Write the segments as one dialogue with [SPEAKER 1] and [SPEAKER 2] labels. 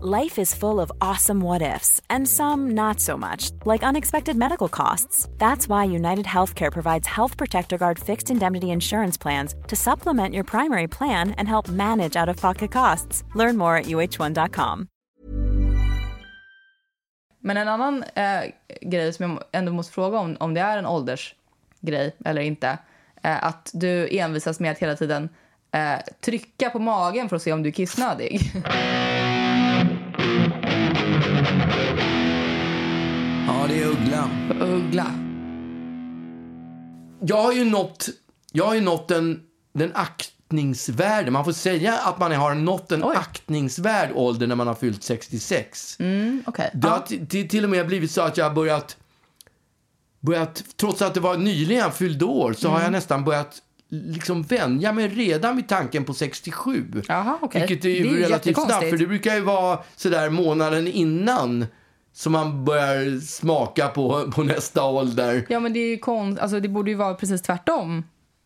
[SPEAKER 1] Life is full of awesome what ifs and some not so much, like unexpected medical costs. That's why United Healthcare provides Health Protector Guard fixed indemnity insurance plans to supplement your primary plan and help manage out of pocket costs. Learn more at uh1.com.
[SPEAKER 2] Men en annan eh, grej som jag ändå måste fråga om, om det är en åldersgrej eller inte. Eh, att du envisas med att hela tiden eh, trycka på magen för att se om du är kissnödig.
[SPEAKER 3] Ja, det är ugglan.
[SPEAKER 2] Uggla.
[SPEAKER 3] Jag har ju nått, jag har ju nått den, den aktningsvärde. Man får säga att man har nått en
[SPEAKER 2] Oj.
[SPEAKER 3] aktningsvärd ålder när man har fyllt 66.
[SPEAKER 2] Mm, okej.
[SPEAKER 3] Det har
[SPEAKER 2] Ja.
[SPEAKER 3] t- till- till och med blivit så att jag har börjat, börjat trots att det var nyligen jag fyllde år, så
[SPEAKER 2] Mm.
[SPEAKER 3] har jag nästan börjat liksom vänja mig redan vid tanken på 67.
[SPEAKER 2] Jaha, okej.
[SPEAKER 3] Vilket är ju
[SPEAKER 2] Det är ju
[SPEAKER 3] relativt snabbt,
[SPEAKER 2] jättekonstigt.
[SPEAKER 3] för det brukar ju vara sådär månaden innan som man börjar smaka på, på nästa ålder.
[SPEAKER 2] ja, men det är ju konst... Alltså det borde ju vara precis tvärtom,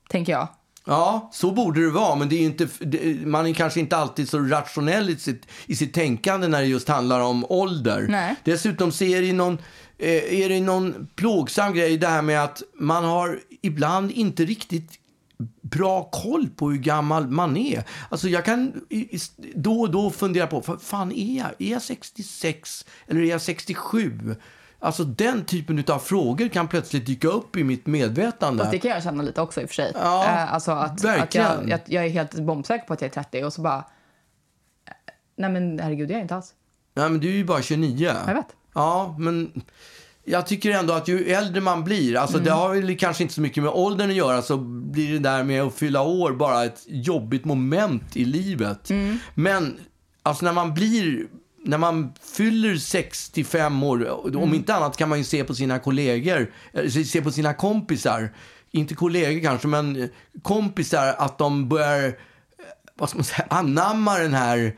[SPEAKER 2] tänker jag.
[SPEAKER 3] Ja, så borde det vara, men det är ju inte, det- man är kanske inte alltid så rationell i sitt, i sitt tänkande när det just handlar om ålder.
[SPEAKER 2] Nej.
[SPEAKER 3] Dessutom så är det, ju någon, eh, är det någon plågsam grej det här med att man har ibland inte riktigt bra koll på hur gammal man är. Alltså jag kan i- i- då och då fundera på, vad fan är jag? Är jag 66 eller är jag 67? Alltså den typen av frågor kan plötsligt dyka upp i mitt medvetande.
[SPEAKER 2] Fast det kan jag känna lite också i och för sig.
[SPEAKER 3] Ja,
[SPEAKER 2] Eh, alltså att, att
[SPEAKER 3] verkligen.
[SPEAKER 2] jag, jag, jag är helt bombsäker på att jag är 30 och så bara... Nej men herregud, jag är inte alls.
[SPEAKER 3] Nej, men du är ju bara 29.
[SPEAKER 2] Jag vet.
[SPEAKER 3] Ja, men jag tycker ändå att ju äldre man blir, alltså
[SPEAKER 2] Mm.
[SPEAKER 3] det har väl kanske inte så mycket med åldern att göra, så blir det där med att fylla år bara ett jobbigt moment i livet.
[SPEAKER 2] Mm.
[SPEAKER 3] Men alltså när man blir, när man fyller 65 år,
[SPEAKER 2] Mm.
[SPEAKER 3] om inte annat kan man ju se på sina kollegor, eh, se- se på sina kompisar, inte kollegor kanske, men kompisar, att de börjar vad ska man säga, anamma den här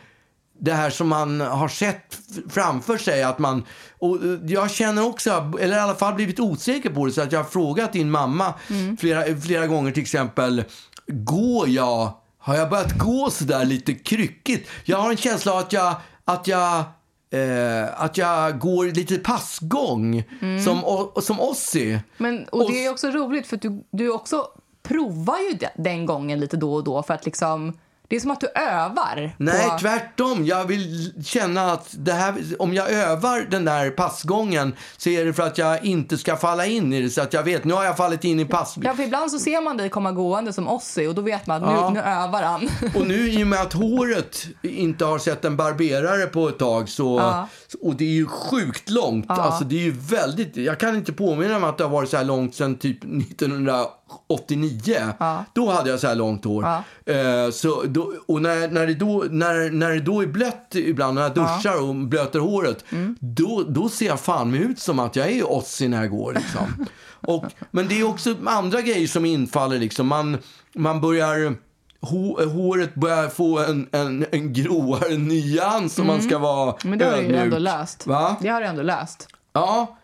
[SPEAKER 3] det här som man har sett f- framför sig. Att man, och eh, jag känner också, eller i alla fall blivit osäker på det, så att jag har frågat din mamma
[SPEAKER 2] Mm.
[SPEAKER 3] flera, flera gånger till exempel, går jag, har jag börjat gå sådär lite kryckigt? Jag har en känsla av att jag, att jag Eh, att jag går lite passgång som, o- som Ossi.
[SPEAKER 2] Mm. Men, och det är ju också roligt för att du, du också provar ju de- den gången lite då och då för att liksom... Det är som att du övar.
[SPEAKER 3] Nej,
[SPEAKER 2] på,
[SPEAKER 3] tvärtom. Jag vill känna att det här, om jag övar den där passgången så är det för att jag inte ska falla in i det. Så att jag vet, nu har jag fallit in i pass.
[SPEAKER 2] Ja, för ibland så ser man dig komma gående som Ossi och då vet man att nu,
[SPEAKER 3] Ja.
[SPEAKER 2] nu övar han.
[SPEAKER 3] Och nu i och med att håret inte har sett en barberare på ett tag så...
[SPEAKER 2] Ja.
[SPEAKER 3] Och det är ju sjukt långt. Alltså det är ju väldigt... Jag kan inte påminna mig att det har varit så här långt sedan typ 1989. Då hade jag så här långt hår. Eh, så då, och när, när, det då, när, när det då är blött ibland, när jag duschar och blöter håret, då, då ser jag fan mig ut som att jag är Ozzy när jag går liksom. och, men det är också andra grejer som infaller liksom. Man, man börjar hå- håret börjar få en, en, en gråare nyans om man ska vara
[SPEAKER 2] Mm. Men det har du ju
[SPEAKER 3] ödmjuk.
[SPEAKER 2] ändå löst.
[SPEAKER 3] Va?
[SPEAKER 2] Det har du ändå löst.
[SPEAKER 3] Ja,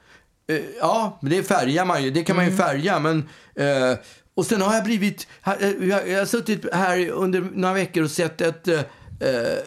[SPEAKER 3] eh, ja men det färgar man ju. Det kan
[SPEAKER 2] Mm.
[SPEAKER 3] man ju färga. Men, eh, och sen har jag blivit... ha- eh, Jag, jag har suttit här under några veckor och sett ett... eh, eh,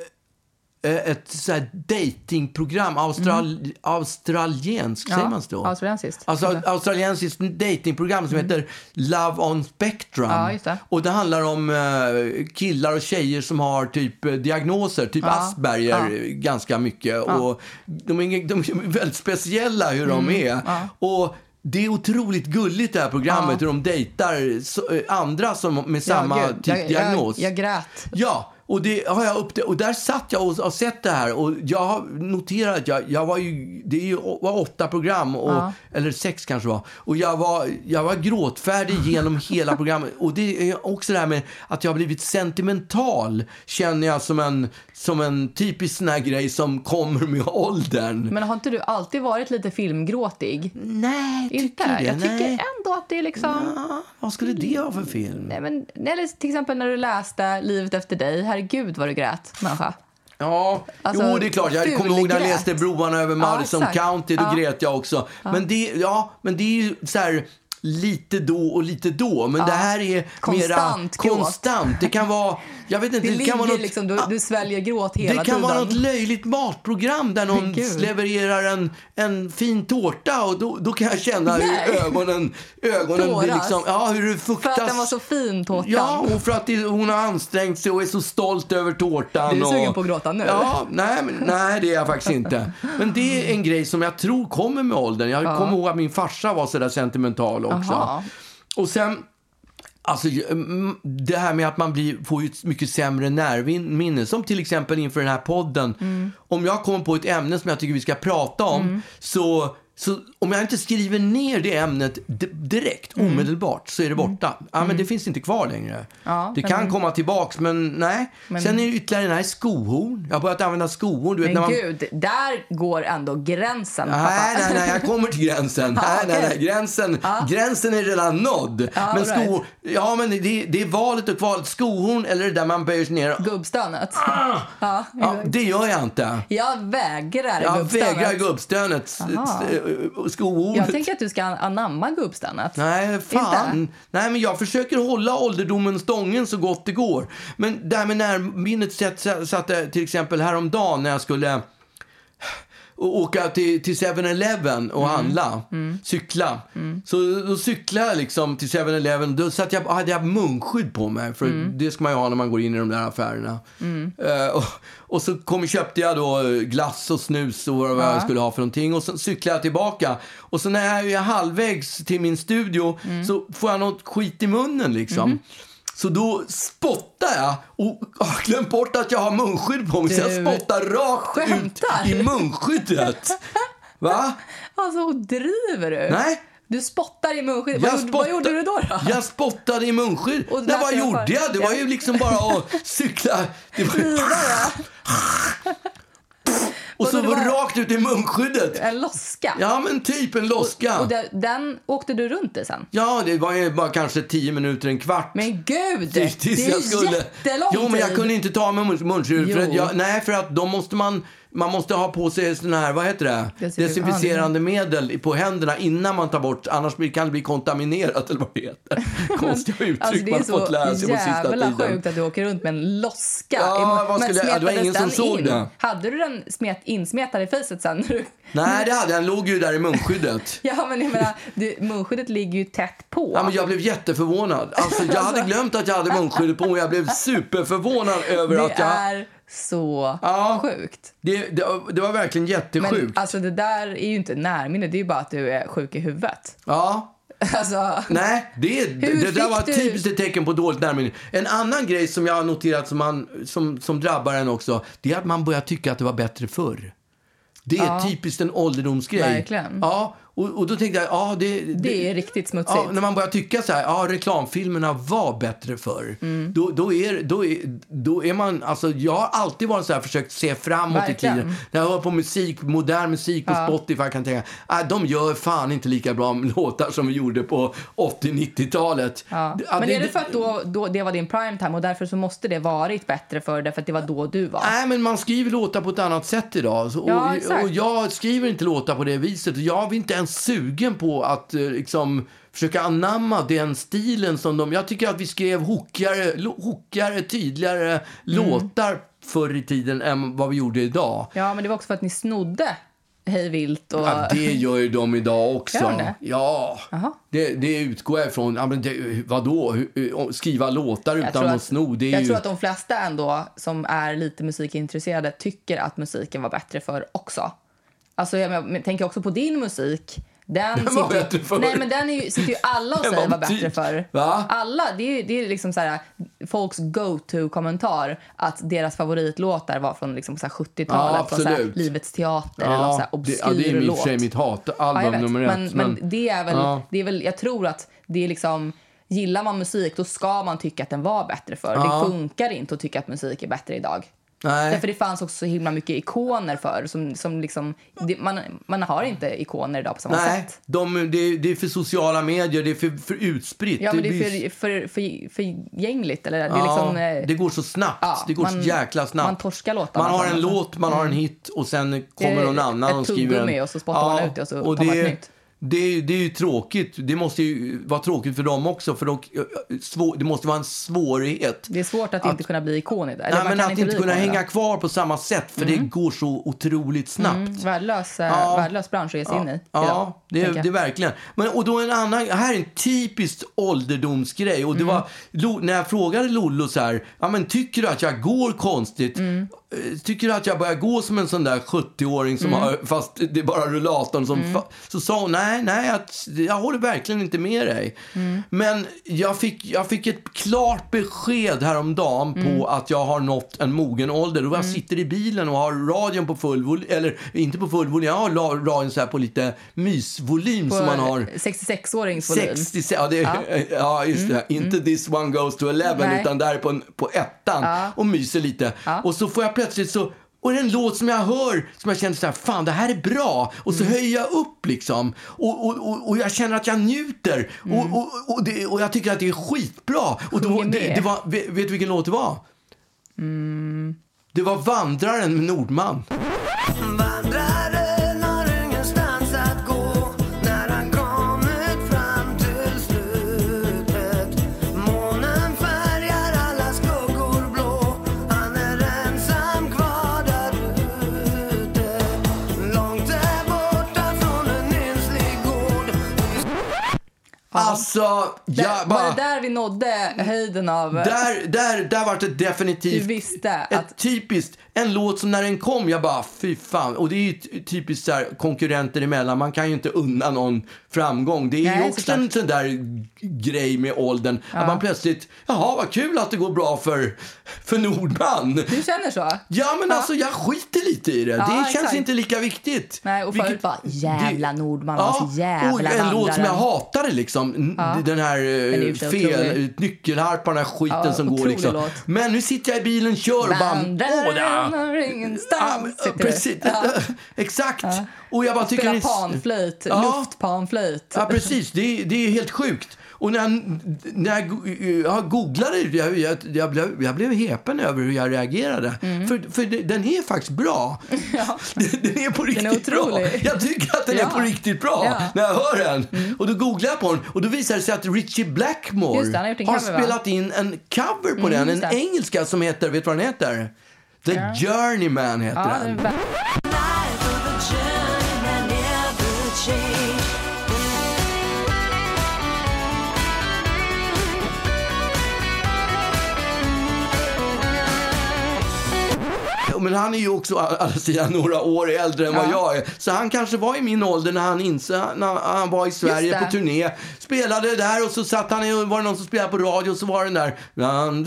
[SPEAKER 3] ett så här datingprogram, Austral- australienskt, säger man så?
[SPEAKER 2] Mm. australiensiskt.
[SPEAKER 3] Alltså australiensiskt datingprogram som heter Love on Spectrum.
[SPEAKER 2] Mm. Ja, just det.
[SPEAKER 3] Och det handlar om eh, killar och tjejer som har typ eh, diagnoser, typ Asperger eh, ganska mycket. Och de, är, de är väldigt speciella hur
[SPEAKER 2] Mm.
[SPEAKER 3] de är. Och det är otroligt gulligt det här programmet hur de dejtar så, eh, andra som, med samma
[SPEAKER 2] Ja, gud.
[SPEAKER 3] typ
[SPEAKER 2] jag,
[SPEAKER 3] diagnos.
[SPEAKER 2] Jag, jag grät.
[SPEAKER 3] Ja, och Och, det har jag upptä- och där satt jag och har sett det här och jag har noterat att jag, jag var ju, det är ju, var åtta program, och,
[SPEAKER 2] Ja.
[SPEAKER 3] eller sex kanske var. Och jag var, jag var gråtfärdig genom hela programmet. Och det är också det här med att jag har blivit sentimental, känner jag som en, som en typisk sån här grej som kommer med åldern.
[SPEAKER 2] Men har inte du alltid varit lite filmgråtig?
[SPEAKER 3] nej,
[SPEAKER 2] Inte?
[SPEAKER 3] tycker du det?
[SPEAKER 2] Jag tycker
[SPEAKER 3] nej.
[SPEAKER 2] ändå att det är liksom...
[SPEAKER 3] Ja, vad skulle det vara för film?
[SPEAKER 2] Nej, men, eller till exempel när du läste Livet efter dig. Herregud vad du grät, människa.
[SPEAKER 3] Ja,
[SPEAKER 2] Alltså,
[SPEAKER 3] jo det är klart. Jag kommer ihåg när jag
[SPEAKER 2] fulgrät.
[SPEAKER 3] läste Broarna över Madison
[SPEAKER 2] exakt.
[SPEAKER 3] County. Då
[SPEAKER 2] Ja.
[SPEAKER 3] grät jag också. Men, det, ja, men det är ju så här lite då och lite då. Men det här är
[SPEAKER 2] Konstant
[SPEAKER 3] mera
[SPEAKER 2] gråt.
[SPEAKER 3] konstant. Det kan vara, jag vet inte,
[SPEAKER 2] Det,
[SPEAKER 3] det,
[SPEAKER 2] ligger
[SPEAKER 3] kan vara något, Ah.
[SPEAKER 2] liksom, du, du sväljer gråt
[SPEAKER 3] det
[SPEAKER 2] hela
[SPEAKER 3] kan
[SPEAKER 2] tiden.
[SPEAKER 3] vara något löjligt matprogram där någon
[SPEAKER 2] Men gud.
[SPEAKER 3] levererar en, en fin tårta och då, då kan jag känna
[SPEAKER 2] Nej.
[SPEAKER 3] hur ögonen, ögonen blir
[SPEAKER 2] Tåras.
[SPEAKER 3] liksom, ja hur det
[SPEAKER 2] För
[SPEAKER 3] fuktas.
[SPEAKER 2] att den var så fin, tårtan.
[SPEAKER 3] Ja, oh, och för att det, hon har ansträngt sig och är så stolt över tårtan.
[SPEAKER 2] Du är sugen
[SPEAKER 3] och,
[SPEAKER 2] på att gråta nu.
[SPEAKER 3] Ja, nej, men, nej, det är jag faktiskt inte. Men det är en grej som jag tror kommer med åldern. Jag kommer ihåg att min farsa var sådär sentimental också.
[SPEAKER 2] Jaha.
[SPEAKER 3] Och sen... Alltså, mm, det här med att man blir, får ju ett mycket sämre närminne. Som till exempel inför den här podden.
[SPEAKER 2] Mm.
[SPEAKER 3] Om jag kommer på ett ämne som jag tycker vi ska prata om. Så, så om jag inte skriver ner det ämnet di- direkt,
[SPEAKER 2] Mm.
[SPEAKER 3] omedelbart, så är det borta. Ja, men det finns inte kvar längre.
[SPEAKER 2] Ja,
[SPEAKER 3] det kan komma tillbaks, men nej. Sen är det ytterligare den här skohorn. Jag har börjat använda skohorn. Du vet, när
[SPEAKER 2] Men
[SPEAKER 3] man...
[SPEAKER 2] gud, där går ändå gränsen,
[SPEAKER 3] Nej,
[SPEAKER 2] pappa.
[SPEAKER 3] nej, nej, jag kommer till gränsen. nej, nej, nej, gränsen, gränsen är redan nådd. men
[SPEAKER 2] all right.
[SPEAKER 3] skohorn, ja men det, det är valet och kvalet. Skohorn eller det där man böjer sig ner.
[SPEAKER 2] Gubbstönet.
[SPEAKER 3] Ja, det gör jag inte.
[SPEAKER 2] Jag vägrar
[SPEAKER 3] Jag
[SPEAKER 2] gubbstönet.
[SPEAKER 3] vägrar gubbstönet. S-
[SPEAKER 2] Aha.
[SPEAKER 3] s- eh, Skohorn.
[SPEAKER 2] Jag tänker att du ska anamma gubbstönet.
[SPEAKER 3] Nej, fan.
[SPEAKER 2] Inte?
[SPEAKER 3] Nej, men jag försöker hålla ålderdomen stången så gott det går. Men det här med närminnet satt, satt jag till exempel häromdagen när jag skulle och åka till, till 7-Eleven och
[SPEAKER 2] Mm.
[SPEAKER 3] handla, cykla. Så då cyklade jag liksom till 7-Eleven. Då satt jag, hade jag munskydd på mig, för
[SPEAKER 2] Mm.
[SPEAKER 3] det ska man ju ha när man går in i de där affärerna. Eh, och, och så kom, köpte jag då eh, glass och snus och vad vad jag skulle ha för någonting. Och sen cyklade jag tillbaka. Och så när jag är halvvägs till min studio
[SPEAKER 2] Mm.
[SPEAKER 3] så får jag något skit i munnen liksom. Så då spottar jag och har glömt bort att jag har munskydd på mig. Så jag
[SPEAKER 2] Du
[SPEAKER 3] spottar rakt
[SPEAKER 2] skämtar.
[SPEAKER 3] ut i munskyddet. Va?
[SPEAKER 2] Alltså, driver du?
[SPEAKER 3] Nej.
[SPEAKER 2] Du spottar i munskyddet. Vad, gjorde- vad gjorde du då? då?
[SPEAKER 3] Jag spottade i munskydd.
[SPEAKER 2] Och
[SPEAKER 3] Nej,
[SPEAKER 2] där
[SPEAKER 3] vad
[SPEAKER 2] ser jag
[SPEAKER 3] gjorde
[SPEAKER 2] fram-
[SPEAKER 3] jag? Det var ju liksom bara att cykla. Det var ju... Och så
[SPEAKER 2] Vadå, det var-
[SPEAKER 3] rakt ut i munskyddet.
[SPEAKER 2] En loska?
[SPEAKER 3] Ja, men typ en loska.
[SPEAKER 2] Och den, den åkte du runt i sen?
[SPEAKER 3] Ja, det var ju bara kanske tio minuter, en kvart.
[SPEAKER 2] Men gud!
[SPEAKER 3] Tills- tills
[SPEAKER 2] det är
[SPEAKER 3] jag skulle...
[SPEAKER 2] jättelång
[SPEAKER 3] Jo, men jag
[SPEAKER 2] tid.
[SPEAKER 3] kunde inte ta med mun- munskydd. För
[SPEAKER 2] Jo.
[SPEAKER 3] att jag, nej, för att då måste man... Man måste ha på sig sån här, vad heter det?
[SPEAKER 2] Desinfektion.
[SPEAKER 3] Desinficerande medel i- på händerna innan man tar bort. Annars blir- kan det bli kontaminerat eller vad det heter. Konstiga uttryck
[SPEAKER 2] Alltså, det är
[SPEAKER 3] man fått lära sig
[SPEAKER 2] så
[SPEAKER 3] på sista
[SPEAKER 2] jävla
[SPEAKER 3] tiden.
[SPEAKER 2] sjukt att du åker runt med en loska.
[SPEAKER 3] Ja,
[SPEAKER 2] i mun.
[SPEAKER 3] vad skulle jag- ja, det var
[SPEAKER 2] smetades
[SPEAKER 3] ingen som
[SPEAKER 2] den
[SPEAKER 3] såg
[SPEAKER 2] in?
[SPEAKER 3] det.
[SPEAKER 2] Hade du den smet, insmetad i facet sen? när du-
[SPEAKER 3] Nej, det hade jag. Den låg ju där i munskyddet.
[SPEAKER 2] Ja, men jag menar, du, munskyddet ligger ju tätt på.
[SPEAKER 3] Ja, men jag blev jätteförvånad. Alltså, jag hade glömt att jag hade munskyddet på och jag blev superförvånad över
[SPEAKER 2] det
[SPEAKER 3] att jag...
[SPEAKER 2] är så
[SPEAKER 3] Ja.
[SPEAKER 2] sjukt.
[SPEAKER 3] Det, det, det var verkligen
[SPEAKER 2] Men
[SPEAKER 3] jättesjukt.
[SPEAKER 2] alltså det där är ju inte närminne, det är ju bara att du är sjuk i huvudet.
[SPEAKER 3] Ja,
[SPEAKER 2] Alltså,
[SPEAKER 3] Nej, det, det, det där
[SPEAKER 2] fick
[SPEAKER 3] var
[SPEAKER 2] du-
[SPEAKER 3] ett typiskt ett tecken på dåligt närminne. En annan grej som jag har noterat som, man, som, som drabbar en också, det är att man börjar tycka att det var bättre förr. Det är typiskt en ålderdomsgrej.
[SPEAKER 2] Verkligen.
[SPEAKER 3] Ja, och, och då tänkte jag, ja det...
[SPEAKER 2] det är riktigt smutsigt.
[SPEAKER 3] Ja, när man börjar tycka så här, ja reklamfilmerna var bättre förr.
[SPEAKER 2] Mm.
[SPEAKER 3] Då, då, är, då, är, då är man, alltså jag har alltid varit så här, försökt se framåt
[SPEAKER 2] Verkligen.
[SPEAKER 3] i tiden. När jag hör på musik, modern musik på Spotify kan jag tänka, äh, de gör fan inte lika bra låtar som vi gjorde på 80-90-talet.
[SPEAKER 2] Ja.
[SPEAKER 3] Ja,
[SPEAKER 2] Men är det för att då, då, det var din prime time och därför så måste det varit bättre för därför att det var då du var?
[SPEAKER 3] Nej, men man skriver låtar på ett annat sätt idag. Så, och,
[SPEAKER 2] Ja, exakt.
[SPEAKER 3] och jag skriver inte låtar på det viset. Och jag är inte ens sugen på att eh, liksom, försöka anamma den stilen som de... Jag tycker att vi skrev hookigare, lo- hookigare tydligare
[SPEAKER 2] Mm.
[SPEAKER 3] låtar förr i tiden än vad vi gjorde idag.
[SPEAKER 2] Ja, men det var också för att ni snodde hej vilt och...
[SPEAKER 3] Ja, det gör ju de idag också.
[SPEAKER 2] Gör de det?
[SPEAKER 3] Ja,
[SPEAKER 2] Jaha.
[SPEAKER 3] det, det utgår jag ifrån. Ja, men det, vadå, Hur- hur- skriva låtar
[SPEAKER 2] Jag
[SPEAKER 3] utan
[SPEAKER 2] tror
[SPEAKER 3] att,
[SPEAKER 2] att-
[SPEAKER 3] sno? Det är
[SPEAKER 2] jag
[SPEAKER 3] ju...
[SPEAKER 2] tror att de flesta ändå som är lite musikintresserade tycker att musiken var bättre förr också. Alltså jag men- men tänker också på din musik Den,
[SPEAKER 3] Den var
[SPEAKER 2] sitter, ju-
[SPEAKER 3] bättre förr.
[SPEAKER 2] Nej, men den är ju, sitter ju alla och
[SPEAKER 3] Den
[SPEAKER 2] säger
[SPEAKER 3] var
[SPEAKER 2] var bättre
[SPEAKER 3] typ-
[SPEAKER 2] förr.
[SPEAKER 3] Va?
[SPEAKER 2] Alla, det är ju det är liksom så här, folks go-to-kommentar att deras favoritlåtar var från liksom så här 70-talet.
[SPEAKER 3] Ja,
[SPEAKER 2] från så här
[SPEAKER 3] absolut.
[SPEAKER 2] Livets teater eller någon så här
[SPEAKER 3] det,
[SPEAKER 2] obskyr
[SPEAKER 3] ja, det är i och
[SPEAKER 2] låt.
[SPEAKER 3] för sig mitt
[SPEAKER 2] Ja, jag
[SPEAKER 3] hatalbum
[SPEAKER 2] vet.
[SPEAKER 3] nummer
[SPEAKER 2] men,
[SPEAKER 3] ett.
[SPEAKER 2] men det är väl,
[SPEAKER 3] Ja.
[SPEAKER 2] det är väl, jag tror att det är liksom, gillar man musik då ska man tycka att den var bättre förr. Det funkar inte att tycka att musik är bättre idag.
[SPEAKER 3] nej.
[SPEAKER 2] Därför det fanns också så himla mycket ikoner förr som, som liksom, det, man, man har inte ikoner idag på samma
[SPEAKER 3] Nej,
[SPEAKER 2] sätt.
[SPEAKER 3] de, det, är- det är för sociala medier, det är för, för utspritt.
[SPEAKER 2] Ja, men det
[SPEAKER 3] blir-
[SPEAKER 2] är för, för, för, för gängligt eller det är
[SPEAKER 3] Ja,
[SPEAKER 2] liksom... eh,
[SPEAKER 3] det går så snabbt.
[SPEAKER 2] ja,
[SPEAKER 3] det går så
[SPEAKER 2] man-
[SPEAKER 3] jäkla snabbt.
[SPEAKER 2] man torskar låtarna
[SPEAKER 3] Man har en
[SPEAKER 2] på något sätt. Mm.
[SPEAKER 3] låt, man har en hit och sen
[SPEAKER 2] Det
[SPEAKER 3] kommer
[SPEAKER 2] är
[SPEAKER 3] någon annan
[SPEAKER 2] ett
[SPEAKER 3] och skriver
[SPEAKER 2] tuggummi
[SPEAKER 3] en...
[SPEAKER 2] och så spottar man ut det och så tar
[SPEAKER 3] det,
[SPEAKER 2] man ett nytt.
[SPEAKER 3] Det är, ju- det är ju tråkigt. Det måste ju vara tråkigt för dem också. För de, svår, det måste vara en svårighet.
[SPEAKER 2] Det är svårt att, inte kunna bli ikon idag. Eller
[SPEAKER 3] Nej,
[SPEAKER 2] man
[SPEAKER 3] men
[SPEAKER 2] kan
[SPEAKER 3] att inte,
[SPEAKER 2] bli
[SPEAKER 3] kunna
[SPEAKER 2] ikon idag.
[SPEAKER 3] hänga kvar på samma sätt för det går så otroligt snabbt.
[SPEAKER 2] Mm, värdelös, eh,
[SPEAKER 3] Ja.
[SPEAKER 2] värdelös bransch att ge sig in i.
[SPEAKER 3] Ja,
[SPEAKER 2] idag,
[SPEAKER 3] det,
[SPEAKER 2] tänker
[SPEAKER 3] det
[SPEAKER 2] jag.
[SPEAKER 3] är verkligen. Men, och då en annan, här är en typisk ålderdomsgrej. Och det
[SPEAKER 2] Mm.
[SPEAKER 3] var, Lo, när jag frågade Lollo så här, ja, men tycker du att jag går konstigt?
[SPEAKER 2] Mm.
[SPEAKER 3] Eh, Tycker du att jag börjar gå som en sån där 70-åring
[SPEAKER 2] Mm.
[SPEAKER 3] som har, fast det är bara rullatorn som... fa- Så sa hon, nej, nej, jag, jag håller verkligen inte med dig. Men jag fick, jag fick ett klart besked häromdagen på att jag har nått en mogen ålder. Och jag sitter i bilen och har radion på full volym, eller inte på full volym, jag har la- radion så här på lite mysvolym
[SPEAKER 2] På
[SPEAKER 3] som man har.
[SPEAKER 2] 66-årings volym.
[SPEAKER 3] 60, ja, det, ja. just det. Inte this one goes to eleven
[SPEAKER 2] Mm. Nej.
[SPEAKER 3] utan där på, en, på ettan och myser lite. Och så får jag plötsligt så och det är en låt som jag hör som jag känner så här, fan det här är bra. Och
[SPEAKER 2] Mm.
[SPEAKER 3] så höjer jag upp liksom. Och, och, och, och jag känner att jag njuter. Och, och, och, det, och jag tycker att det är skitbra. Och då,
[SPEAKER 2] Mm. Sjunger
[SPEAKER 3] det,
[SPEAKER 2] med. Mm.
[SPEAKER 3] det var, vet vet du vilken låt det var? Det var Vandraren med Nordman.
[SPEAKER 4] Vandraren har ingenstans att gå när han kommit fram till slutet. Månen färgar alla skuggor blå. Han är ensam kvar där ute. Långt där borta från en enslig gård.
[SPEAKER 3] Alltså,
[SPEAKER 2] Där,
[SPEAKER 3] jag
[SPEAKER 2] Var
[SPEAKER 3] bara...
[SPEAKER 2] det där vi nådde höjden av...
[SPEAKER 3] Där, där, där var det
[SPEAKER 2] du
[SPEAKER 3] definitivt
[SPEAKER 2] visste
[SPEAKER 3] Ett
[SPEAKER 2] att...
[SPEAKER 3] typiskt, en låt som när den kom, jag bara fy fan. Och det är ju ty- typiskt så här, konkurrenter emellan, man kan ju inte unna någon framgång. Det är ju
[SPEAKER 2] Nej,
[SPEAKER 3] också
[SPEAKER 2] såklart.
[SPEAKER 3] en sån där g- grej med åldern, att man plötsligt, jaha vad kul att det går bra för, för Nordman.
[SPEAKER 2] Du känner så?
[SPEAKER 3] Ja men alltså jag skiter lite i det,
[SPEAKER 2] Ja,
[SPEAKER 3] det känns
[SPEAKER 2] exakt.
[SPEAKER 3] inte lika viktigt.
[SPEAKER 2] Nej, och förut bara, jävla Nordman, alltså, jävla
[SPEAKER 3] och en låt som jag
[SPEAKER 2] vandraren.
[SPEAKER 3] hatade liksom, N- den här
[SPEAKER 2] är
[SPEAKER 3] eh,
[SPEAKER 2] ju så
[SPEAKER 3] fel,
[SPEAKER 2] otrolig.
[SPEAKER 3] nyckelharpan, den här skiten
[SPEAKER 2] Ja,
[SPEAKER 3] som går
[SPEAKER 2] otrolig
[SPEAKER 3] liksom.
[SPEAKER 2] låt.
[SPEAKER 3] Men nu sitter jag i bilen, kör och bara, åh, där.
[SPEAKER 2] Vandraren har
[SPEAKER 3] Ja, men,
[SPEAKER 2] ingenstans.
[SPEAKER 3] ja,
[SPEAKER 2] sitter du.
[SPEAKER 3] precis. Exakt. Och jag bara tycker
[SPEAKER 2] Spela
[SPEAKER 3] det är-
[SPEAKER 2] panflöjt,
[SPEAKER 3] Ja.
[SPEAKER 2] luftpanflöjt.
[SPEAKER 3] Ja, precis. Det är, det är helt sjukt. Och när jag, när jag, go- eh, jag googlade, jag, jag, jag, blev, jag blev hepen över hur jag reagerade.
[SPEAKER 2] Mm.
[SPEAKER 3] För, för det- den är faktiskt bra. Den, den är på riktigt bra.
[SPEAKER 2] otrolig.
[SPEAKER 3] Jag tycker att den
[SPEAKER 2] Ja.
[SPEAKER 3] är på riktigt bra
[SPEAKER 2] Ja. Mm.
[SPEAKER 3] när jag hör den. Och då googlade jag på den och då visade det sig att Richie Blackmore
[SPEAKER 2] Just det, han har gjort en
[SPEAKER 3] har
[SPEAKER 2] cover, va? Mm,
[SPEAKER 3] spelat in en cover på den.
[SPEAKER 2] just
[SPEAKER 3] En
[SPEAKER 2] det.
[SPEAKER 3] engelska som heter, vet du vad den heter? The Journeyman heter
[SPEAKER 2] Ja, det
[SPEAKER 3] den.
[SPEAKER 2] är väl-
[SPEAKER 4] Life of a journeyman never changed.
[SPEAKER 3] Men han är ju också å andra sidan några år äldre än vad jag är. Så han kanske var i min ålder när han, inse, när han var i Sverige
[SPEAKER 2] det.
[SPEAKER 3] på turné. Spelade där och så satt han i- var det någon som spelade på radio och så var den där...
[SPEAKER 2] Mm. Och han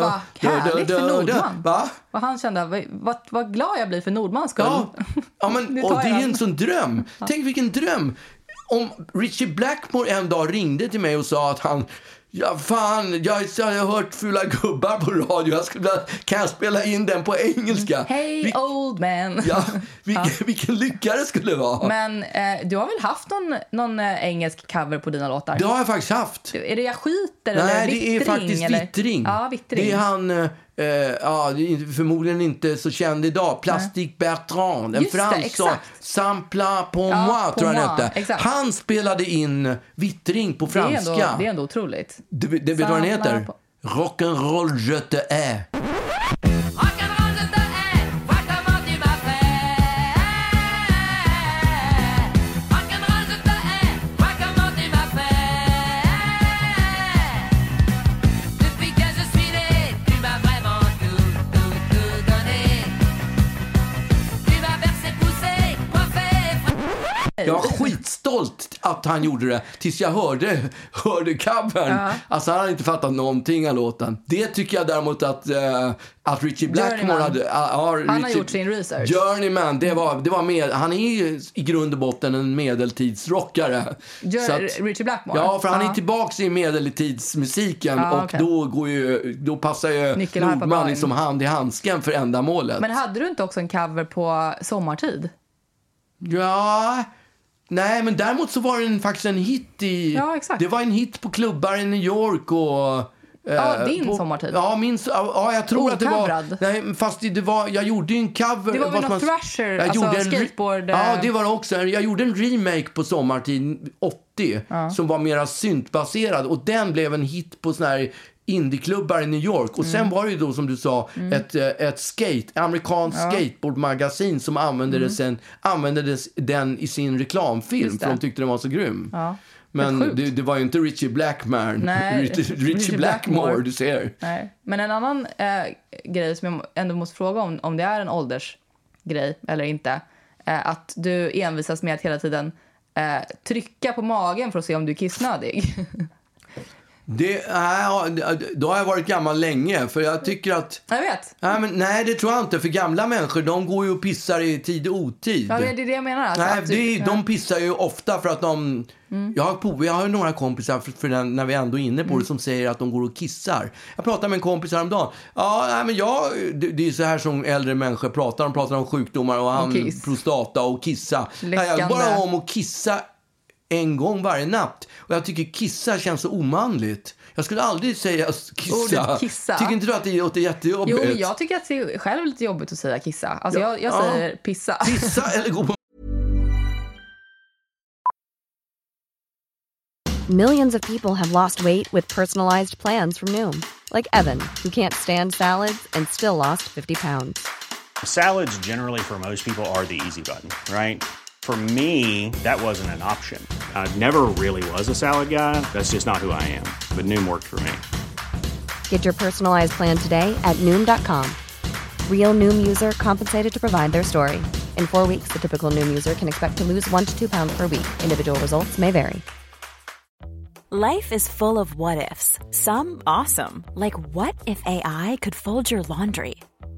[SPEAKER 2] bara, härligt för Nordman.
[SPEAKER 3] Va?
[SPEAKER 2] Och han kände, vad, vad, vad glad jag blir för Nordmans skull.
[SPEAKER 3] Ja, ja men
[SPEAKER 2] Nu
[SPEAKER 3] och
[SPEAKER 2] tar
[SPEAKER 3] det
[SPEAKER 2] jag
[SPEAKER 3] är
[SPEAKER 2] den.
[SPEAKER 3] en sån dröm. Tänk vilken dröm. Om Richie Blackmore en dag ringde till mig och sa att han Ja, fan, jag, jag har hört Fula gubbar på radio. Jag skulle, vilja- kan jag spela in den på engelska?
[SPEAKER 2] Hey
[SPEAKER 3] Vil-
[SPEAKER 2] old man.
[SPEAKER 3] ja, vilken, vilken lycka det skulle vara.
[SPEAKER 2] Men eh, du har väl haft någon, någon eh, engelsk cover på dina låtar?
[SPEAKER 3] Det har jag faktiskt haft.
[SPEAKER 2] Är det jag skiter eller
[SPEAKER 3] Nej, det
[SPEAKER 2] vittring?
[SPEAKER 3] är faktiskt
[SPEAKER 2] eller?
[SPEAKER 3] Vittring.
[SPEAKER 2] Ja, vittring.
[SPEAKER 3] Det är han, eh, eh, ja, det är inte- förmodligen inte så känd idag, Plastic Bertrand. En
[SPEAKER 2] Just det,
[SPEAKER 3] fransk sång.
[SPEAKER 2] exakt.
[SPEAKER 3] Sampla på
[SPEAKER 2] Ja,
[SPEAKER 3] moi, tror jag
[SPEAKER 2] Pour
[SPEAKER 3] han
[SPEAKER 2] moi,
[SPEAKER 3] hette.
[SPEAKER 2] exakt.
[SPEAKER 3] Han spelade in Vittring på
[SPEAKER 2] det, är
[SPEAKER 3] franska.
[SPEAKER 2] ändå, det är ändå otroligt.
[SPEAKER 3] Du, du, vet du vad den
[SPEAKER 2] Samla
[SPEAKER 3] heter?
[SPEAKER 2] på-
[SPEAKER 3] Rock'n'roll je te hais.
[SPEAKER 5] Rock'n'roll je te hais, vois comment tu m'as fait Rock'n'roll je te hais, vois comment tu m'as fait Depuis que je suis né, tu m'as vraiment tout, tout, tout donné Tu m'as versé, poussé, coiffé, frappé
[SPEAKER 3] Jag var skitstolt att han gjorde det tills jag hörde, hörde covern. Alltså han hade inte fattat någonting av låten. Det tycker jag däremot att, eh, att Richie Blackmore
[SPEAKER 2] Journeyman.
[SPEAKER 3] hade... ja, ja,
[SPEAKER 2] Han har gjort sin research.
[SPEAKER 3] Journeyman, det var, det var med, han är ju i grund och botten en medeltidsrockare.
[SPEAKER 2] Gör
[SPEAKER 3] Så att-
[SPEAKER 2] Richie Blackmore?
[SPEAKER 3] Ja, för han är
[SPEAKER 2] Ja.
[SPEAKER 3] tillbaka i medeltidsmusiken
[SPEAKER 2] Ja,
[SPEAKER 3] och
[SPEAKER 2] okej.
[SPEAKER 3] då, går ju, då passar ju
[SPEAKER 2] Nyckelharpa
[SPEAKER 3] Nordman
[SPEAKER 2] bra in.
[SPEAKER 3] liksom hand i handsken för ändamålet.
[SPEAKER 2] Men hade du inte också en cover på Sommartid?
[SPEAKER 3] Ja... Nej, men däremot så var den faktiskt en hit i...
[SPEAKER 2] Ja, exakt.
[SPEAKER 3] Det var en hit på klubbar i New York och...
[SPEAKER 2] Ja,
[SPEAKER 3] eh,
[SPEAKER 2] din sommartid.
[SPEAKER 3] Ja, min... so- Ja, jag tror att det var...
[SPEAKER 2] Ocoverad.
[SPEAKER 3] Nej, fast det var... Jag gjorde ju en cover...
[SPEAKER 2] Det var väl
[SPEAKER 3] vad
[SPEAKER 2] något
[SPEAKER 3] ska man-
[SPEAKER 2] Thrasher,
[SPEAKER 3] jag
[SPEAKER 2] alltså
[SPEAKER 3] gjorde en re-
[SPEAKER 2] skateboard, eh.
[SPEAKER 3] Ja, det var det också. Jag gjorde en remake på Sommartid 80 som var mera syntbaserad och den blev en hit på sån här indieklubbar i New York. Och
[SPEAKER 2] Mm.
[SPEAKER 3] sen var det ju då som du sa ett, eh, ett skate, amerikanskt skateboardmagasin som använde, det sen, använde det, den i sin reklamfilm
[SPEAKER 2] Mm. Just
[SPEAKER 3] för
[SPEAKER 2] det.
[SPEAKER 3] de tyckte den var så grym.
[SPEAKER 2] Ja.
[SPEAKER 3] Men
[SPEAKER 2] Sjukt.
[SPEAKER 3] det, det var ju inte Richie Blackman,
[SPEAKER 2] Nej,
[SPEAKER 3] Richie, Richie
[SPEAKER 2] Richie
[SPEAKER 3] Blackmore,
[SPEAKER 2] Blackmore.
[SPEAKER 3] du ser.
[SPEAKER 2] Nej. Men en annan eh, grej som jag ändå måste fråga om, om det är en åldersgrej eller inte. Eh, att du envisas med att hela tiden eh, trycka på magen för att se om du är kissnödig.
[SPEAKER 3] Det, äh, då har jag varit gammal länge, för jag tycker att
[SPEAKER 2] jag vet.
[SPEAKER 3] Nej, men, nej, det tror jag inte. För gamla människor, de går ju och pissar i tid och otid.
[SPEAKER 2] Ja, det är Mm. det jag menar. Alltså,
[SPEAKER 3] Nej,
[SPEAKER 2] att du,
[SPEAKER 3] det, är- de pissar ju ofta för att de... Jag, har, po- jag har ju några kompisar, för, för den, när vi ändå är inne på
[SPEAKER 2] Mm.
[SPEAKER 3] det, som säger att de går och kissar. Jag pratade med en kompis häromdagen. Ja, nej, men jag, det, det är så här som äldre människor pratar. De pratar om sjukdomar och, han,
[SPEAKER 2] kiss.
[SPEAKER 3] prostata och kissa. Nej, jag går
[SPEAKER 2] Läckande.
[SPEAKER 3] bara om att kissa en gång varje natt. Och jag tycker kissa känns så omanligt. Jag skulle aldrig säga s- kissa.
[SPEAKER 2] Ordet kissa.
[SPEAKER 3] Tycker inte du att det låter jättejobbigt?
[SPEAKER 2] Jo, men jag tycker att det är själv lite jobbigt att säga kissa. Alltså,
[SPEAKER 3] Ja.
[SPEAKER 2] jag, jag
[SPEAKER 3] Ja.
[SPEAKER 2] säger pissa.
[SPEAKER 3] Pissa eller gå på
[SPEAKER 6] Millions of people have lost weight with personalized plans from Noom, like Evan, who can't stand salads and still lost 50 pounds.
[SPEAKER 7] Salads, generally, for most people, are the easy button, right? For me, that wasn't an option. I never really was a salad guy. That's just not who I am. But Noom worked for me.
[SPEAKER 6] Get your personalized plan today at Noom.com. Real Noom user compensated to provide their story. In four weeks, the typical Noom user can expect to lose one to two pounds per week. Individual results may vary.
[SPEAKER 1] Life is full of what ifs. Some awesome, like what if AI could fold your laundry?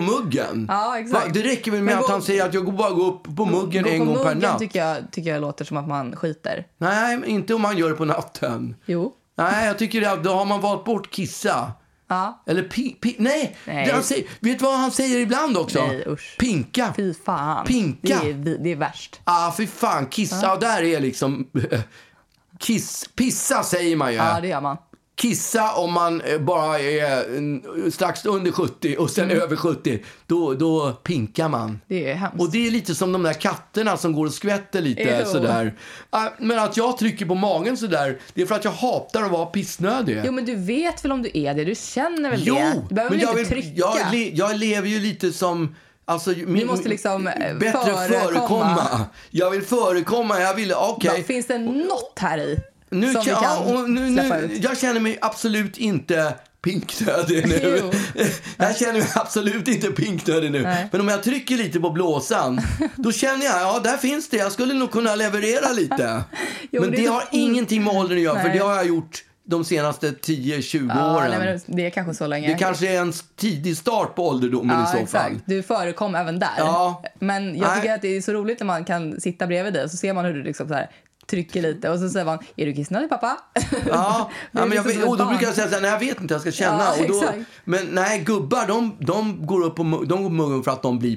[SPEAKER 3] muggen.
[SPEAKER 2] Ja, exakt.
[SPEAKER 3] Va, det räcker väl med
[SPEAKER 2] Men
[SPEAKER 3] att
[SPEAKER 2] gå-
[SPEAKER 3] han säger att jag går bara går upp på muggen
[SPEAKER 2] Gå på
[SPEAKER 3] en gång per
[SPEAKER 2] muggen
[SPEAKER 3] natt.
[SPEAKER 2] Tycker jag, tycker jag låter som att man skiter.
[SPEAKER 3] Nej, men inte om man gör det på natten.
[SPEAKER 2] Jo.
[SPEAKER 3] Nej, jag tycker att då har man valt bort kissa.
[SPEAKER 2] Ja.
[SPEAKER 3] Eller pi, pi, nej.
[SPEAKER 2] Nej.
[SPEAKER 3] Det Han säger, vet du vad han säger ibland också?
[SPEAKER 2] Nej, usch.
[SPEAKER 3] Pinka.
[SPEAKER 2] Fy fan.
[SPEAKER 3] Pinka.
[SPEAKER 2] Det är, vi- det är värst.
[SPEAKER 3] Ah, fy fan. Kissa, där är liksom... Kiss, pissa säger man ju.
[SPEAKER 2] Ja, det gör man.
[SPEAKER 3] Kissa om man eh, bara är eh, strax under 70 och sen över 70. Då, då pinkar man.
[SPEAKER 2] Mm. Det är hemskt.
[SPEAKER 3] Och det är lite som de där katterna som går och skvätter lite
[SPEAKER 2] Ew.
[SPEAKER 3] sådär. Ah, Men att jag trycker på magen sådär, det är för att jag hatar att vara pissnödig.
[SPEAKER 2] Jo, men du vet väl om du är det? Du känner väl
[SPEAKER 3] Jo,
[SPEAKER 2] det? Du behöver väl
[SPEAKER 3] jag,
[SPEAKER 2] inte
[SPEAKER 3] vill-
[SPEAKER 2] trycka?
[SPEAKER 3] jag, le, jag lever ju lite som... Alltså, min,
[SPEAKER 2] måste liksom, eh,
[SPEAKER 3] bättre
[SPEAKER 2] förekomma.
[SPEAKER 3] Jag vill förekomma. Jag vill, okej.
[SPEAKER 2] Bara, Finns det något här i
[SPEAKER 3] Nu,
[SPEAKER 2] som
[SPEAKER 3] kan,
[SPEAKER 2] vi
[SPEAKER 3] ja,
[SPEAKER 2] kan
[SPEAKER 3] och nu,
[SPEAKER 2] släppa
[SPEAKER 3] nu,
[SPEAKER 2] ut?
[SPEAKER 3] jag känner mig absolut inte pinknödig nu.
[SPEAKER 2] Jo.
[SPEAKER 3] jag känner mig absolut inte pinknödig nu.
[SPEAKER 2] Nej.
[SPEAKER 3] Men om jag trycker lite på blåsan, då känner jag, ja där finns det. Jag skulle nog kunna leverera lite.
[SPEAKER 2] Jo,
[SPEAKER 3] men det,
[SPEAKER 2] det är så
[SPEAKER 3] har
[SPEAKER 2] ont.
[SPEAKER 3] ingenting med åldern att göra, för
[SPEAKER 2] Nej.
[SPEAKER 3] det har jag gjort de senaste 10-20
[SPEAKER 2] Ja,
[SPEAKER 3] åren.
[SPEAKER 2] nej, men det är kanske så länge.
[SPEAKER 3] Det kanske är en tidig start på ålderdomen
[SPEAKER 2] ja,
[SPEAKER 3] i så
[SPEAKER 2] exakt.
[SPEAKER 3] fall.
[SPEAKER 2] Du förekom även där.
[SPEAKER 3] Ja.
[SPEAKER 2] Men jag
[SPEAKER 3] Nej.
[SPEAKER 2] tycker att det är så roligt när man kan sitta bredvid dig och så ser man hur du liksom så här trycker lite och så säger man “Är du kissnödig pappa?”
[SPEAKER 3] Ja,
[SPEAKER 2] Det är
[SPEAKER 3] ja men jag
[SPEAKER 2] liksom
[SPEAKER 3] vet,
[SPEAKER 2] som ett
[SPEAKER 3] och då
[SPEAKER 2] barn.
[SPEAKER 3] brukar jag säga så här, nej jag vet inte, jag ska känna.
[SPEAKER 2] Ja,
[SPEAKER 3] och då,
[SPEAKER 2] exakt.
[SPEAKER 3] men nej, gubbar de, de går upp på mu- de går på muggen för att de blir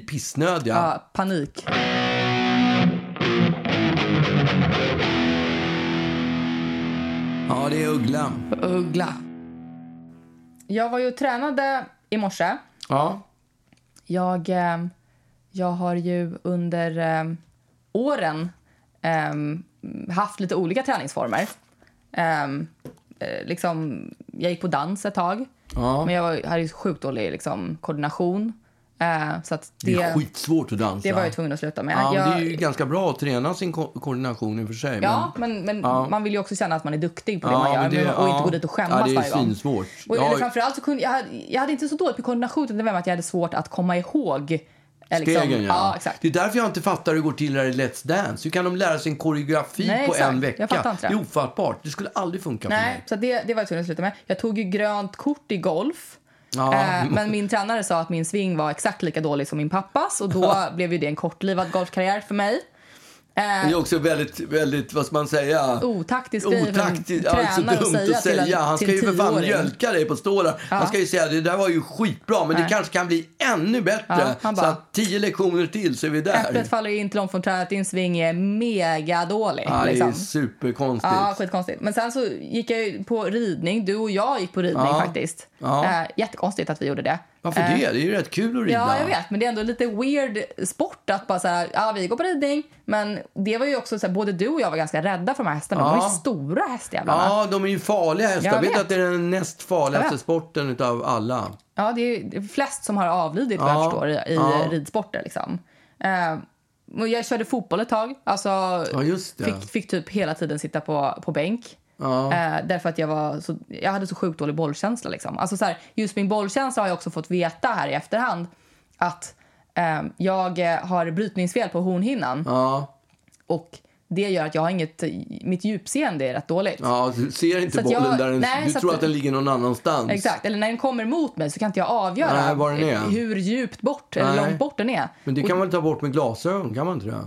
[SPEAKER 3] pissnödiga.
[SPEAKER 2] Ja, panik.
[SPEAKER 3] Ja, det är Uggla.
[SPEAKER 2] Uggla. Jag var ju och tränade i morse.
[SPEAKER 3] Ja.
[SPEAKER 2] Jag, eh, jag har ju under ehm, eh, åren eh, haft lite olika träningsformer. Eh, eh, liksom, jag gick på dans ett tag. Men jag var, hade ju sjukt dålig liksom, koordination. Eh, så att det,
[SPEAKER 3] Det är skitsvårt att dansa.
[SPEAKER 2] det var jag tvungen att sluta med.
[SPEAKER 3] Ja, men
[SPEAKER 2] jag,
[SPEAKER 3] Det är ju ganska bra att träna sin ko koordination i och för sig.
[SPEAKER 2] Ja, men, men man vill ju också känna att man är duktig på det
[SPEAKER 3] Ja,
[SPEAKER 2] man gör
[SPEAKER 3] men det-
[SPEAKER 2] men- och
[SPEAKER 3] ja.
[SPEAKER 2] inte gå dit och skämmas
[SPEAKER 3] Ja, det är
[SPEAKER 2] varje gång.
[SPEAKER 3] svinsvårt.
[SPEAKER 2] Och,
[SPEAKER 3] Ja.
[SPEAKER 2] eller framförallt så kunde, jag, hade, jag hade inte så dåligt med koordination utan det var med att jag hade svårt att komma ihåg. eh, Liksom,
[SPEAKER 3] Stegen, ja.
[SPEAKER 2] ja. exakt.
[SPEAKER 3] Det är därför jag inte fattar hur det går till där i Let's Dance. Hur kan de lära sig en koreografi
[SPEAKER 2] Nej,
[SPEAKER 3] på
[SPEAKER 2] exakt.
[SPEAKER 3] en vecka?
[SPEAKER 2] Jag fattar inte
[SPEAKER 3] det.
[SPEAKER 2] det.
[SPEAKER 3] är ofattbart. Det skulle aldrig funka för
[SPEAKER 2] Nej,
[SPEAKER 3] mig.
[SPEAKER 2] så det, det var jag tvungen att sluta med. Jag tog ju grönt kort i golf.
[SPEAKER 3] Ja.
[SPEAKER 2] Eh, men min tränare sa att min sving var exakt lika dålig som min pappas och då blev ju det en kortlivad golfkarriär för mig.
[SPEAKER 3] Det
[SPEAKER 2] Eh,
[SPEAKER 3] är också väldigt, väldigt, vad ska man säga?
[SPEAKER 2] otaktisk grej för en
[SPEAKER 3] Otaktiskt,
[SPEAKER 2] tränare
[SPEAKER 3] alltså
[SPEAKER 2] att
[SPEAKER 3] dumt
[SPEAKER 2] säga
[SPEAKER 3] att
[SPEAKER 2] till en
[SPEAKER 3] säga. Han ska
[SPEAKER 2] till
[SPEAKER 3] ju för fan
[SPEAKER 2] tioåring.
[SPEAKER 3] mjölka dig på stålar. Han ska ju säga det där var ju skitbra men det
[SPEAKER 2] Nej.
[SPEAKER 3] kanske kan bli ännu
[SPEAKER 2] Ja,
[SPEAKER 3] bättre.
[SPEAKER 2] han
[SPEAKER 3] så
[SPEAKER 2] bara-
[SPEAKER 3] att tio lektioner till så är vi där.
[SPEAKER 2] Äpplet faller ju inte långt från trädet, din sving är mega dålig.
[SPEAKER 3] Ja, det är
[SPEAKER 2] liksom.
[SPEAKER 3] superkonstigt.
[SPEAKER 2] Ja, skitkonstigt. Men sen så gick jag ju på ridning. Du och jag gick på ridning
[SPEAKER 3] Ja.
[SPEAKER 2] faktiskt.
[SPEAKER 3] Ja.
[SPEAKER 2] Eh, jättekonstigt att vi gjorde det.
[SPEAKER 3] Varför
[SPEAKER 2] Eh,
[SPEAKER 3] det? Det är ju rätt kul att rida.
[SPEAKER 2] Ja, jag vet. Men det är ändå lite weird sport att bara så här, ja vi går på ridning. Men det var ju också så här, både du och jag var ganska rädda för de här hästarna. De
[SPEAKER 3] Ja.
[SPEAKER 2] var ju stora hästjävlarna. Ja,
[SPEAKER 3] Ja, de är ju farliga hästar.
[SPEAKER 2] Jag
[SPEAKER 3] vet du
[SPEAKER 2] vet.
[SPEAKER 3] att det är den näst
[SPEAKER 2] Jag
[SPEAKER 3] farligaste
[SPEAKER 2] vet.
[SPEAKER 3] sporten utav alla?
[SPEAKER 2] det är ju det är flest som har avlidit vad
[SPEAKER 3] Ja.
[SPEAKER 2] jag förstår i, i
[SPEAKER 3] Ja.
[SPEAKER 2] ridsporter liksom. Eh, och jag körde fotboll ett tag. Alltså,
[SPEAKER 3] Ja, just det.
[SPEAKER 2] fick, fick typ hela tiden sitta på, på bänk.
[SPEAKER 3] Ja.
[SPEAKER 2] Eh, därför att jag, var så, jag hade så sjukt dålig bollkänsla. Liksom. Alltså, så här, just min bollkänsla har jag också fått veta här i efterhand att eh, jag eh, har brytningsfel på hornhinnan.
[SPEAKER 3] Ja,
[SPEAKER 2] Och det gör att jag har inget, mitt djupseende är rätt dåligt.
[SPEAKER 3] ja du ser inte
[SPEAKER 2] Så att
[SPEAKER 3] bollen
[SPEAKER 2] jag-
[SPEAKER 3] där den,
[SPEAKER 2] nej,
[SPEAKER 3] Du
[SPEAKER 2] så att-
[SPEAKER 3] tror att den ligger någon annanstans.
[SPEAKER 2] Exakt, eller när den kommer mot mig så kan inte jag avgöra
[SPEAKER 3] Nej, var den är.
[SPEAKER 2] hur djupt bort eller
[SPEAKER 3] Nej.
[SPEAKER 2] långt bort den är.
[SPEAKER 3] Men det kan man ta bort med glasögon, kan man inte det?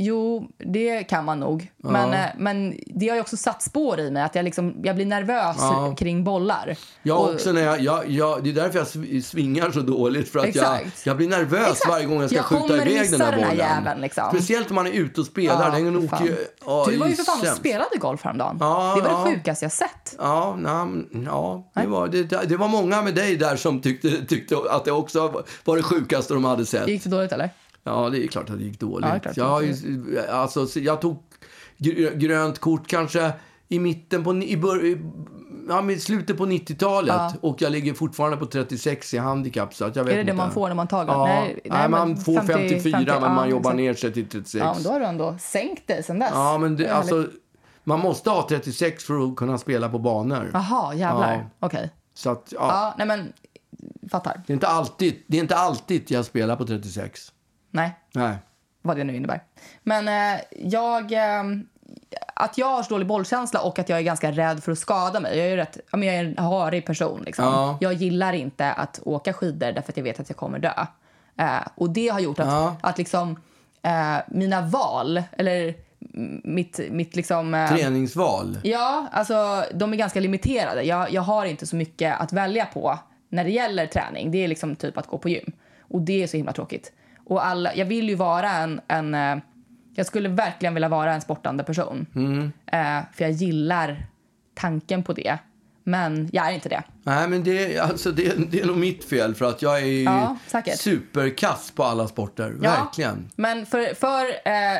[SPEAKER 2] Jo, det kan man nog. Men, eh, men det har ju också satt spår i mig att jag, liksom, jag blir nervös
[SPEAKER 3] Ja.
[SPEAKER 2] kring bollar.
[SPEAKER 3] Jag
[SPEAKER 2] Och-
[SPEAKER 3] också när jag, jag, jag, det är därför jag sv- svingar så dåligt. För att jag,
[SPEAKER 2] Exakt.
[SPEAKER 3] jag blir nervös
[SPEAKER 2] Exakt.
[SPEAKER 3] varje gång jag ska
[SPEAKER 2] Jag
[SPEAKER 3] skjuta
[SPEAKER 2] kommer
[SPEAKER 3] iväg
[SPEAKER 2] missa
[SPEAKER 3] den där
[SPEAKER 2] den här
[SPEAKER 3] bollen.
[SPEAKER 2] jäveln, liksom.
[SPEAKER 3] Speciellt om man är ute och spelar. den
[SPEAKER 2] för
[SPEAKER 3] åker
[SPEAKER 2] fan.
[SPEAKER 3] ju, ja,
[SPEAKER 2] du var ju för fan och
[SPEAKER 3] sämst.
[SPEAKER 2] spelade golf häromdagen.
[SPEAKER 3] Ja,
[SPEAKER 2] det var
[SPEAKER 3] ja.
[SPEAKER 2] det sjukaste jag sett.
[SPEAKER 3] Ja, na, ja det, var, det, det var många med dig där som tyckte, tyckte att det också var det sjukaste de hade sett.
[SPEAKER 2] Gick det dåligt eller?
[SPEAKER 3] Ja, det är klart att det gick dåligt.
[SPEAKER 2] Ja, det är klart.
[SPEAKER 3] jag, har ju, alltså, så jag tog gr- grönt kort kanske i mitten på... ni- I bör, i, ja, men i slutet på 90-talet. Och jag ligger fortfarande på 36 i handikapp. Så att jag vet
[SPEAKER 2] Är det
[SPEAKER 3] inte.
[SPEAKER 2] det man får när man tagit?
[SPEAKER 3] Ja,
[SPEAKER 2] Nej,
[SPEAKER 3] nej,
[SPEAKER 2] nej, men
[SPEAKER 3] man får
[SPEAKER 2] 50,
[SPEAKER 3] 54
[SPEAKER 2] 50,
[SPEAKER 3] men man
[SPEAKER 2] ja,
[SPEAKER 3] jobbar
[SPEAKER 2] exakt.
[SPEAKER 3] ner sig till 36.
[SPEAKER 2] Ja, men då har du ändå sänkt dig sen dess.
[SPEAKER 3] Ja, men det,
[SPEAKER 2] är
[SPEAKER 3] alltså,
[SPEAKER 2] väldigt-
[SPEAKER 3] man måste ha 36 för att kunna spela på banor.
[SPEAKER 2] Jaha, jävlar. Okej.
[SPEAKER 3] Så att, ja,
[SPEAKER 2] Ja, nej men... Fattar.
[SPEAKER 3] Det, är inte alltid, det är inte alltid jag spelar på 36.
[SPEAKER 2] Nej,
[SPEAKER 3] Nej.
[SPEAKER 2] vad det nu innebär. Men eh, jag... Eh, att jag har så dålig bollkänsla och att jag är ganska rädd för att skada mig. Jag är ju rätt, ja, men jag är en harig person. Liksom.
[SPEAKER 3] Ja.
[SPEAKER 2] Jag gillar inte att åka skidor därför att jag vet att jag kommer dö. Eh, och det har gjort att,
[SPEAKER 3] Ja.
[SPEAKER 2] att liksom, eh, mina val, eller m- mitt, mitt liksom... eh,
[SPEAKER 3] Träningsval.
[SPEAKER 2] Ja, alltså de är ganska limiterade. Jag, jag har inte så mycket att välja på när det gäller träning. Det är liksom typ att gå på gym. Och det är så himla tråkigt. Och alla, jag vill ju vara en, en... eh, Jag skulle verkligen vilja vara en sportande person.
[SPEAKER 3] Mm.
[SPEAKER 2] Eh, för jag gillar tanken på det. Men jag är inte det.
[SPEAKER 3] Nej, men det, alltså, det, det är nog mitt fel för att jag är
[SPEAKER 2] Ja, säkert.
[SPEAKER 3] superkass på alla sporter.
[SPEAKER 2] Ja.
[SPEAKER 3] Verkligen.
[SPEAKER 2] Men för, för eh, eh,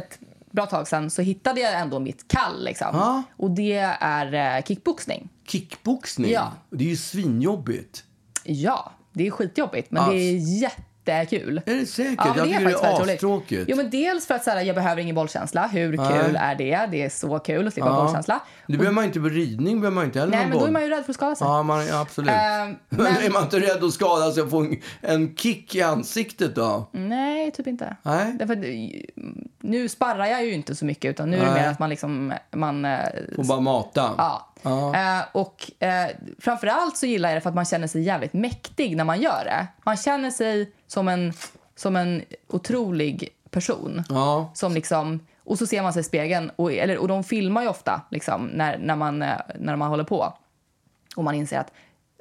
[SPEAKER 2] ett bra tag sedan så hittade jag ändå mitt kall. Liksom.
[SPEAKER 3] Ja.
[SPEAKER 2] Och det är eh, kickboxning.
[SPEAKER 3] Kickboxning,
[SPEAKER 2] Ja.
[SPEAKER 3] det är ju svinjobbigt.
[SPEAKER 2] Ja, det är skitjobbigt, men det är jättekul.
[SPEAKER 3] Är det säkert?
[SPEAKER 2] Ja, men
[SPEAKER 3] jag
[SPEAKER 2] det är
[SPEAKER 3] tycker det
[SPEAKER 2] faktiskt
[SPEAKER 3] är
[SPEAKER 2] väldigt roligt.
[SPEAKER 3] astråkigt.
[SPEAKER 2] Jo, men dels för att så här, jag behöver ingen bollkänsla. Hur kul är det? Det är så kul att slippa
[SPEAKER 3] Ja.
[SPEAKER 2] bollkänsla.
[SPEAKER 3] Det behöver man inte på ridning, behöver man inte heller
[SPEAKER 2] Nej,
[SPEAKER 3] någon
[SPEAKER 2] men då är
[SPEAKER 3] boll.
[SPEAKER 2] man ju rädd för att skada sig.
[SPEAKER 3] Ja, man, ja, absolut.
[SPEAKER 2] Ehm,
[SPEAKER 3] men...
[SPEAKER 2] men-
[SPEAKER 3] är man inte rädd att skada sig och få en, en kick i ansiktet då?
[SPEAKER 2] Nej, typ inte.
[SPEAKER 3] Nej.
[SPEAKER 2] Därför, att, eh, nu sparrar jag ju inte så mycket, utan nu är det
[SPEAKER 3] Nej.
[SPEAKER 2] mer att man liksom... Man, eh,
[SPEAKER 3] Och bara mata?
[SPEAKER 2] Ja. Eh, och eh, framförallt så gillar jag det för att man känner sig jävligt mäktig när man gör det. Man känner sig som en, som en otrolig person.
[SPEAKER 3] Ja.
[SPEAKER 2] Som liksom, och så ser man sig i spegeln. Och, eller, och de filmar ju ofta liksom, när, när, man, eh, när man håller på. Och man inser att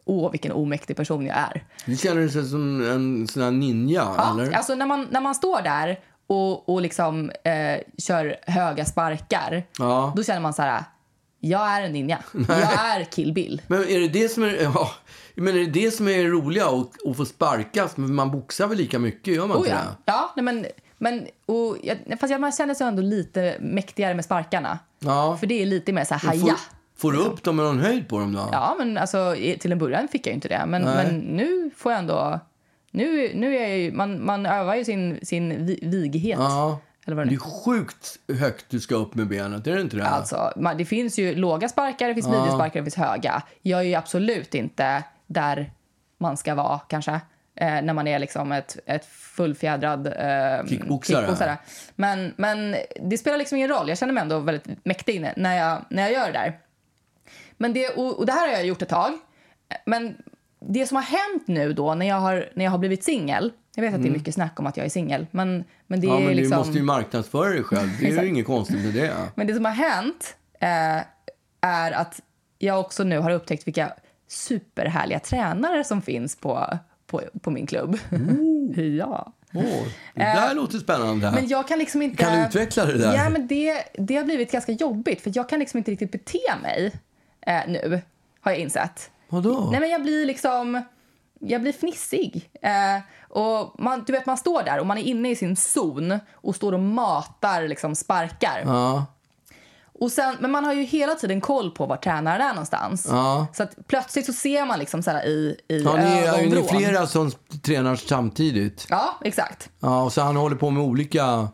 [SPEAKER 2] åh, vilken omäktig person jag är.
[SPEAKER 3] Du känner dig som en sån här ninja, eller?
[SPEAKER 2] Ja, alltså när man, när man står där och, och liksom eh, kör höga sparkar,
[SPEAKER 3] Ja.
[SPEAKER 2] då känner man så här, jag är en ninja. Jag är Kill Bill.
[SPEAKER 3] Men är det det som är, ja, men är, det det som är det roliga att, att få sparkas? Men man boxar väl lika mycket, gör man
[SPEAKER 2] Oh,
[SPEAKER 3] inte
[SPEAKER 2] ja.
[SPEAKER 3] det?
[SPEAKER 2] ja nej, men, men, och jag, fast jag, man känner sig ändå lite mäktigare med sparkarna.
[SPEAKER 3] Ja.
[SPEAKER 2] För det är lite mer så här,
[SPEAKER 3] Du får-
[SPEAKER 2] haja.
[SPEAKER 3] Får du upp dem med någon höjd på dem då?
[SPEAKER 2] Ah, Ja, men alltså, i- till en början fick jag ju inte det. Men,
[SPEAKER 3] Nej.
[SPEAKER 2] men nu får jag ändå... Nu, nu är jag ju, man, man övar ju sin, sin vi, vighet.
[SPEAKER 3] Ja.
[SPEAKER 2] Eller vad det
[SPEAKER 3] Det
[SPEAKER 2] nu
[SPEAKER 3] är sjukt högt du ska upp med benet, är det inte det?
[SPEAKER 2] Alltså, man, det finns ju låga sparkar, det finns midjesparkar, det finns höga. Jag är ju absolut inte där man ska vara kanske. Eh, när man är liksom ett, ett fullfjädrad eh,
[SPEAKER 3] Kickboxare.
[SPEAKER 2] Men, men det spelar liksom ingen roll. Jag känner mig ändå väldigt mäktig inne när jag, när jag gör det där. Men det, och, och det här har jag gjort ett tag. Men det som har hänt nu då när jag har, när jag har blivit singel. Jag vet att det är mycket snack om att jag är singel. Men, men det
[SPEAKER 3] Mm. ja,
[SPEAKER 2] är
[SPEAKER 3] men
[SPEAKER 2] liksom...
[SPEAKER 3] du måste ju marknadsföra dig själv. Det är ju inget konstigt med det.
[SPEAKER 2] Men det som har hänt eh, är att jag också nu har upptäckt vilka superhärliga tränare som finns på, på, på min klubb. ja.
[SPEAKER 3] Åh, det där låter spännande.
[SPEAKER 2] Eh, Men jag kan liksom inte...
[SPEAKER 3] Kan du utveckla det där?
[SPEAKER 2] Ja, men det, det har blivit ganska jobbigt för jag kan liksom inte riktigt bete mig eh, nu, har jag insett.
[SPEAKER 3] Vadå?
[SPEAKER 2] Nej, men jag blir liksom... Jag blir fnissig. Eh, och man, du vet, man står där och man är inne i sin zon och står och matar liksom sparkar.
[SPEAKER 3] Ja,
[SPEAKER 2] Och sen, men man har ju hela tiden koll på var tränaren är någonstans.
[SPEAKER 3] Ja.
[SPEAKER 2] Så att plötsligt så ser man liksom så här i, i
[SPEAKER 3] ja ni är, ni är
[SPEAKER 2] ögonvrån.
[SPEAKER 3] flera som tränar samtidigt.
[SPEAKER 2] Ja, exakt.
[SPEAKER 3] Ja, och så han håller på med olika...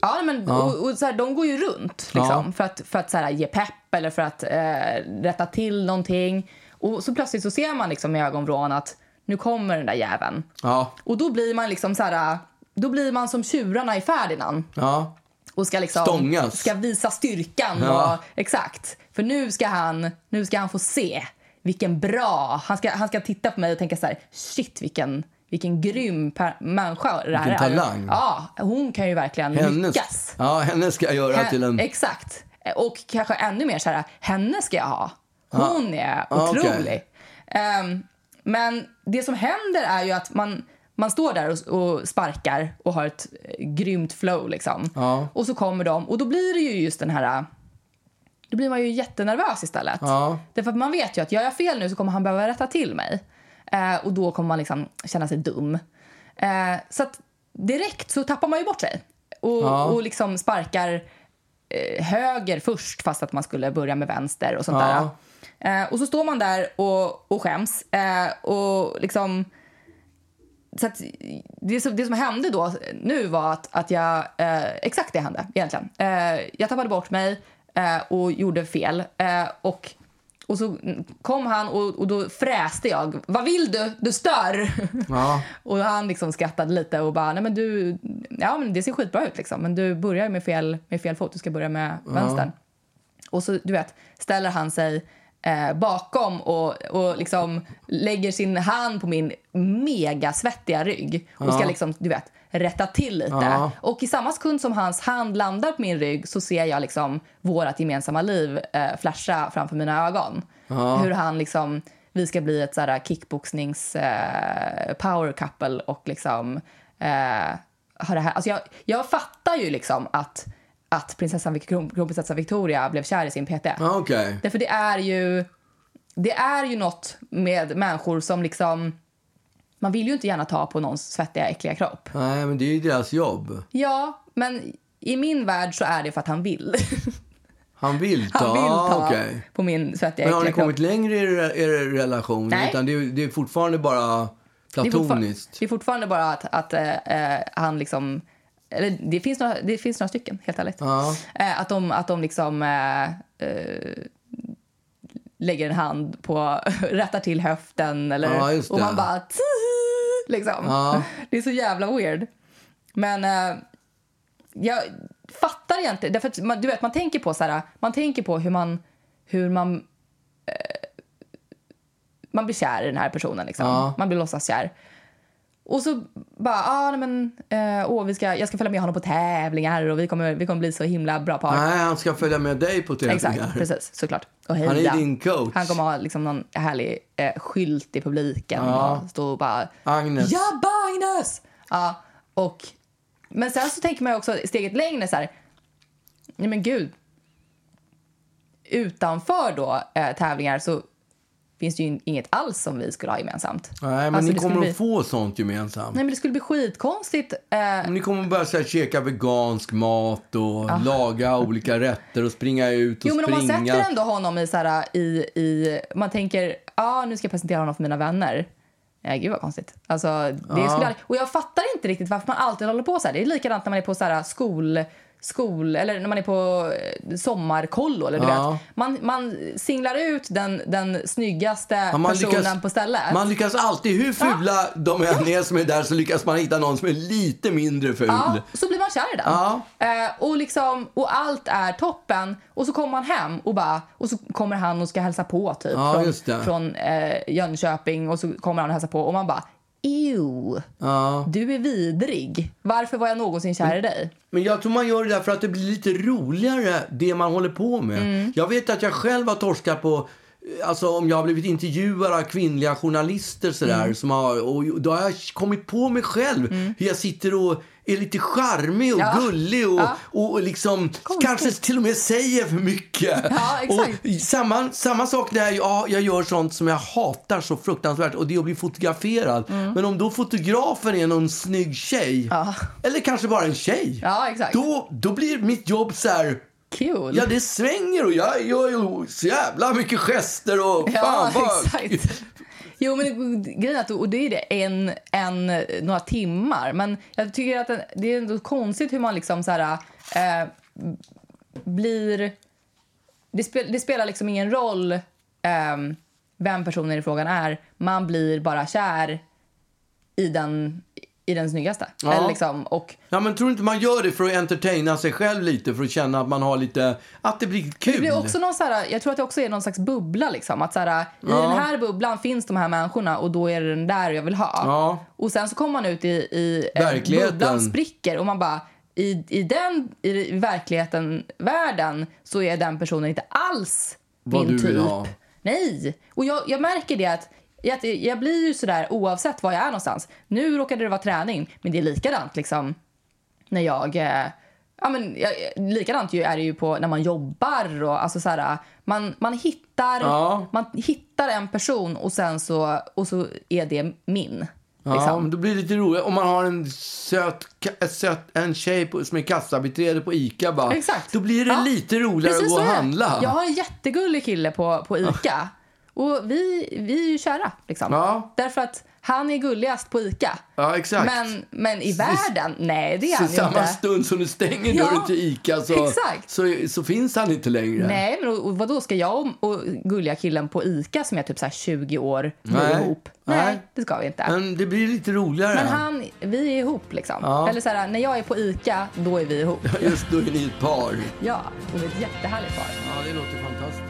[SPEAKER 2] Ja, nej, men, Och, och så här, de går ju runt liksom,
[SPEAKER 3] Ja.
[SPEAKER 2] för att, för att så här, ge pepp eller för att eh, rätta till någonting. Och så plötsligt så ser man liksom i ögonvrån att nu kommer den där jäveln.
[SPEAKER 3] Ja,
[SPEAKER 2] Och då blir man liksom så här, då blir man som tjurarna i Ferdinand.
[SPEAKER 3] ja.
[SPEAKER 2] och ska liksom
[SPEAKER 3] Stångas.
[SPEAKER 2] ska visa styrkan
[SPEAKER 3] Ja.
[SPEAKER 2] och exakt. För nu ska han nu ska han få se vilken bra. Han ska han ska titta på mig och tänka så här shit vilken vilken grym per, människa det här
[SPEAKER 3] Vilken
[SPEAKER 2] är.
[SPEAKER 3] talang.
[SPEAKER 2] Ja, hon kan ju verkligen
[SPEAKER 3] Hennes,
[SPEAKER 2] lyckas. Eh,
[SPEAKER 3] ja, henne ska jag göra
[SPEAKER 2] Hen-
[SPEAKER 3] till en...
[SPEAKER 2] Exakt. Eh, Och kanske ännu mer så här henne ska jag ha. Hon är
[SPEAKER 3] Ah, okej.
[SPEAKER 2] otrolig. Ehm, men det som händer är ju att man, man står där och, och sparkar och har ett eh, grymt flow. Liksom.
[SPEAKER 3] Ja.
[SPEAKER 2] Och så kommer de och då blir det ju just den här... Då blir man ju jättenervös istället.
[SPEAKER 3] Ja.
[SPEAKER 2] Därför att man vet ju att gör jag fel nu så kommer han behöva rätta till mig. Eh, och då kommer man liksom känna sig dum. Eh, så att direkt så tappar man ju bort sig. Och,
[SPEAKER 3] Ja.
[SPEAKER 2] och liksom sparkar eh, höger först fast att man skulle börja med vänster och sånt
[SPEAKER 3] Ja.
[SPEAKER 2] där. Eh, och så står man där och, och skäms. Eh, och liksom... Så att det, som, det som hände då nu var att, att jag... Eh, exakt det hände egentligen. Eh, jag tappade bort mig eh, och gjorde fel. Eh, och, och så kom han och, och då fräste jag. Vad vill du? Du stör!
[SPEAKER 3] Ja.
[SPEAKER 2] och han liksom skrattade lite och bara, nej men du... Ja men det ser skitbra ut liksom. Men du börjar ju med fel, med fel fot. Du ska börja med vänstern. Och så du vet, ställer han sig eh, bakom och, och liksom lägger sin hand på min mega svettiga rygg och ska liksom, du vet, rätta till lite.
[SPEAKER 3] Ja.
[SPEAKER 2] Och i samma sekund som hans hand landar på min rygg så ser jag liksom vårat gemensamma liv eh, flasha framför mina ögon. Hur han liksom, vi ska bli ett så här kickboxnings eh, power couple och liksom eh, ha det här. Alltså jag, jag fattar ju liksom att att prinsessan, Vic- kron- kronprinsessan Victoria blev kär i sin PT.
[SPEAKER 3] Ja, okej.
[SPEAKER 2] Därför det är ju det är ju något med människor som liksom man vill ju inte gärna ta på någons svettiga äckliga kropp.
[SPEAKER 3] Nej, men det är ju deras jobb.
[SPEAKER 2] Ja, men i min värld så är det för att han vill.
[SPEAKER 3] Han vill ta...
[SPEAKER 2] Han vill ta
[SPEAKER 3] Ja, okej.
[SPEAKER 2] på min svettiga
[SPEAKER 3] Men har
[SPEAKER 2] äckliga
[SPEAKER 3] ni
[SPEAKER 2] kropp.
[SPEAKER 3] kommit längre i er, er relation?
[SPEAKER 2] Nej.
[SPEAKER 3] Utan det, är- det är fortfarande bara
[SPEAKER 2] Det är, fortfar-
[SPEAKER 3] platoniskt?
[SPEAKER 2] det är fortfarande bara att, att eh, eh, han liksom... Eller det finns, några, det finns några stycken, helt ärligt.
[SPEAKER 3] Ja.
[SPEAKER 2] Eh, att, de, att de liksom eh, eh, lägger en hand på... rättar till höften eller...
[SPEAKER 3] Ja, just
[SPEAKER 2] och
[SPEAKER 3] det.
[SPEAKER 2] man bara... "Tsi!" Liksom.
[SPEAKER 3] Ja.
[SPEAKER 2] Det är så jävla weird. Men eh, jag fattar egentligen... Därför att man, du vet, man tänker på så här, man tänker på hur man... Hur man man blir kär i den här personen. Liksom.
[SPEAKER 3] Ja.
[SPEAKER 2] Man blir låtsaskär. Och så bara, ah, nej men, eh, åh, vi ska, jag ska följa med honom på tävlingar och vi kommer, vi kommer bli så himla bra par.
[SPEAKER 3] Nej, han ska följa med dig på
[SPEAKER 2] Exakt,
[SPEAKER 3] tävlingar.
[SPEAKER 2] precis, såklart. Och
[SPEAKER 3] är
[SPEAKER 2] heja.
[SPEAKER 3] din coach.
[SPEAKER 2] Han kommer ha liksom någon härlig eh, skylt i publiken
[SPEAKER 3] Ja.
[SPEAKER 2] och stå och bara,
[SPEAKER 3] Agnes.
[SPEAKER 2] jabba Agnes! Ja, och, men sen så tänker man ju också steget längre så här, nej men gud. Utanför då eh, tävlingar så finns det ju in- inget alls som vi skulle ha gemensamt.
[SPEAKER 3] Nej, men
[SPEAKER 2] Alltså,
[SPEAKER 3] ni
[SPEAKER 2] det
[SPEAKER 3] kommer
[SPEAKER 2] skulle
[SPEAKER 3] att
[SPEAKER 2] bli...
[SPEAKER 3] få sånt gemensamt.
[SPEAKER 2] Nej, men det skulle bli skitkonstigt. Eh,
[SPEAKER 3] Ni kommer att börja så här, käka vegansk mat och laga olika rätter och springa ut och
[SPEAKER 2] Ah. Jo, men om
[SPEAKER 3] springa.
[SPEAKER 2] man sätter ändå honom i så här i, i man tänker, ja ah, nu ska jag presentera honom för mina vänner. Eh, gud vad konstigt. Alltså, det skulle aldrig, och jag fattar inte riktigt varför man alltid håller på så här. Det är likadant när man är på så här skol, skol eller när man är på eh, sommarkollo eller du
[SPEAKER 3] Ja.
[SPEAKER 2] vet. Man, man singlar ut den, den snyggaste
[SPEAKER 3] Ja, man
[SPEAKER 2] personen
[SPEAKER 3] lyckas-
[SPEAKER 2] på stället.
[SPEAKER 3] Man lyckas alltid, hur fula de än är som är där, så lyckas man hitta någon som är lite mindre ful.
[SPEAKER 2] Ja, så blir man kär i den.
[SPEAKER 3] Ja.
[SPEAKER 2] Eh, och, liksom, och allt är toppen. Och så kommer man hem och, bara, och så kommer han och ska hälsa på typ
[SPEAKER 3] Ja, just det.
[SPEAKER 2] från, från eh, Jönköping och så kommer han och hälsar på och man bara Ew, du är vidrig. Varför var jag någonsin kär i dig?
[SPEAKER 3] Men jag tror man gör det där för att det blir lite roligare, det man håller på med.
[SPEAKER 2] Mm.
[SPEAKER 3] Jag vet att jag själv har torskat på eh, Alltså om jag har blivit intervjuad av kvinnliga journalister sådär,
[SPEAKER 2] Mm.
[SPEAKER 3] som har, och då har jag kommit på mig själv hur jag sitter och är lite charmig och
[SPEAKER 2] Ja.
[SPEAKER 3] gullig och,
[SPEAKER 2] Ja.
[SPEAKER 3] och, och liksom kanske till och med säger för mycket.
[SPEAKER 2] Ja, exakt.
[SPEAKER 3] Och samma, samma sak när jag, jag gör sånt som jag hatar så fruktansvärt och det är att bli fotograferad.
[SPEAKER 2] Mm.
[SPEAKER 3] Men om då fotografen är någon snygg tjej, eller kanske bara en tjej,
[SPEAKER 2] Ja, exakt.
[SPEAKER 3] då, då blir mitt jobb så här...
[SPEAKER 2] Kul.
[SPEAKER 3] Ja, det svänger och jag gör ju så jävla mycket gester och
[SPEAKER 2] Ja,
[SPEAKER 3] fan vad...
[SPEAKER 2] exakt. Jo, men det- grejen är att, och det är det en, en, några timmar. Men jag tycker att det- det är ändå konstigt hur man liksom så här, eh, blir... Det, spel, det spelar liksom ingen roll ehm, vem personen i frågan är. Man blir bara kär i den, i den snyggaste.
[SPEAKER 3] Ja.
[SPEAKER 2] Eller liksom, och
[SPEAKER 3] Ja, men tror du inte man gör det för att entertaina sig själv lite, för att känna att man har lite... Att det blir kul?
[SPEAKER 2] Det blir också någon så här, jag tror att det också är någon slags bubbla. Liksom, att så här, I
[SPEAKER 3] Ja.
[SPEAKER 2] den här bubblan finns de här människorna och då är det den där jag vill ha.
[SPEAKER 3] Ja.
[SPEAKER 2] Och sen så kommer man ut i, i eh,
[SPEAKER 3] Verkligheten.
[SPEAKER 2] bubblan spricker och man bara i, i den i verkligheten, världen, så är den personen inte alls
[SPEAKER 3] Vad
[SPEAKER 2] min
[SPEAKER 3] du
[SPEAKER 2] typ.
[SPEAKER 3] vill ha.
[SPEAKER 2] Nej! Och jag, jag märker det att jag, jag blir ju sådär oavsett var jag är någonstans. Nu råkade det vara träning, men det är likadant liksom när jag... eh, Ja, men, jag likadant ju är det ju på när man jobbar. Och, alltså, så här, man, man, hittar,
[SPEAKER 3] Ja.
[SPEAKER 2] man hittar en person och sen så, och så är det min. Liksom.
[SPEAKER 3] Ja, men då blir det lite roligt. Om man har en söt, ka- ett söt en tjej på, som är kassabiträde på ICA bara.
[SPEAKER 2] Exakt.
[SPEAKER 3] Då blir det
[SPEAKER 2] Ja.
[SPEAKER 3] lite roligare
[SPEAKER 2] Precis
[SPEAKER 3] att gå
[SPEAKER 2] så
[SPEAKER 3] och
[SPEAKER 2] är det.
[SPEAKER 3] handla.
[SPEAKER 2] Jag har en jättegullig kille på, på ICA. Och vi, vi är ju kära. Liksom.
[SPEAKER 3] Ja.
[SPEAKER 2] Därför att han är gulligast på ICA.
[SPEAKER 3] Ja, exakt.
[SPEAKER 2] Men, men i världen, nej det är
[SPEAKER 3] så
[SPEAKER 2] han ju
[SPEAKER 3] samma
[SPEAKER 2] inte.
[SPEAKER 3] stund som du stänger
[SPEAKER 2] Ja,
[SPEAKER 3] dörren till ICA så,
[SPEAKER 2] exakt.
[SPEAKER 3] så, så finns han inte längre.
[SPEAKER 2] Nej, men och, och vadå, ska jag och, och gulliga killen på ICA som är typ så här 20 år
[SPEAKER 3] Nej.
[SPEAKER 2] bli ihop? Nej,
[SPEAKER 3] Nej.
[SPEAKER 2] det ska vi inte.
[SPEAKER 3] Men det blir lite roligare.
[SPEAKER 2] Men han, vi är ihop liksom.
[SPEAKER 3] Ja.
[SPEAKER 2] Eller så här, när jag är på ICA, då är vi ihop.
[SPEAKER 3] Just då är ni ett par.
[SPEAKER 2] Ja, och vi är ett jättehärligt par.
[SPEAKER 3] Ja, det låter fantastiskt.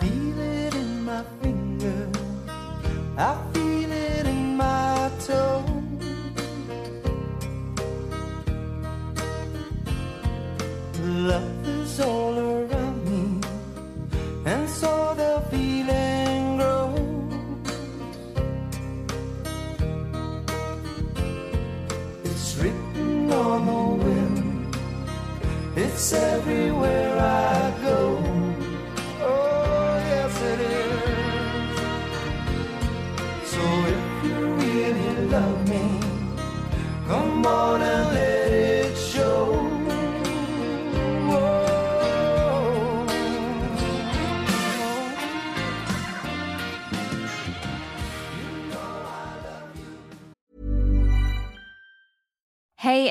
[SPEAKER 4] Feel it in my finger. I feel it in my toe. Love is all around me, and so the feeling grows. It's written on the wind. It's everywhere I go. Oh, yes it is. So if you really love me, come on and let it show. Oh.
[SPEAKER 8] Hey,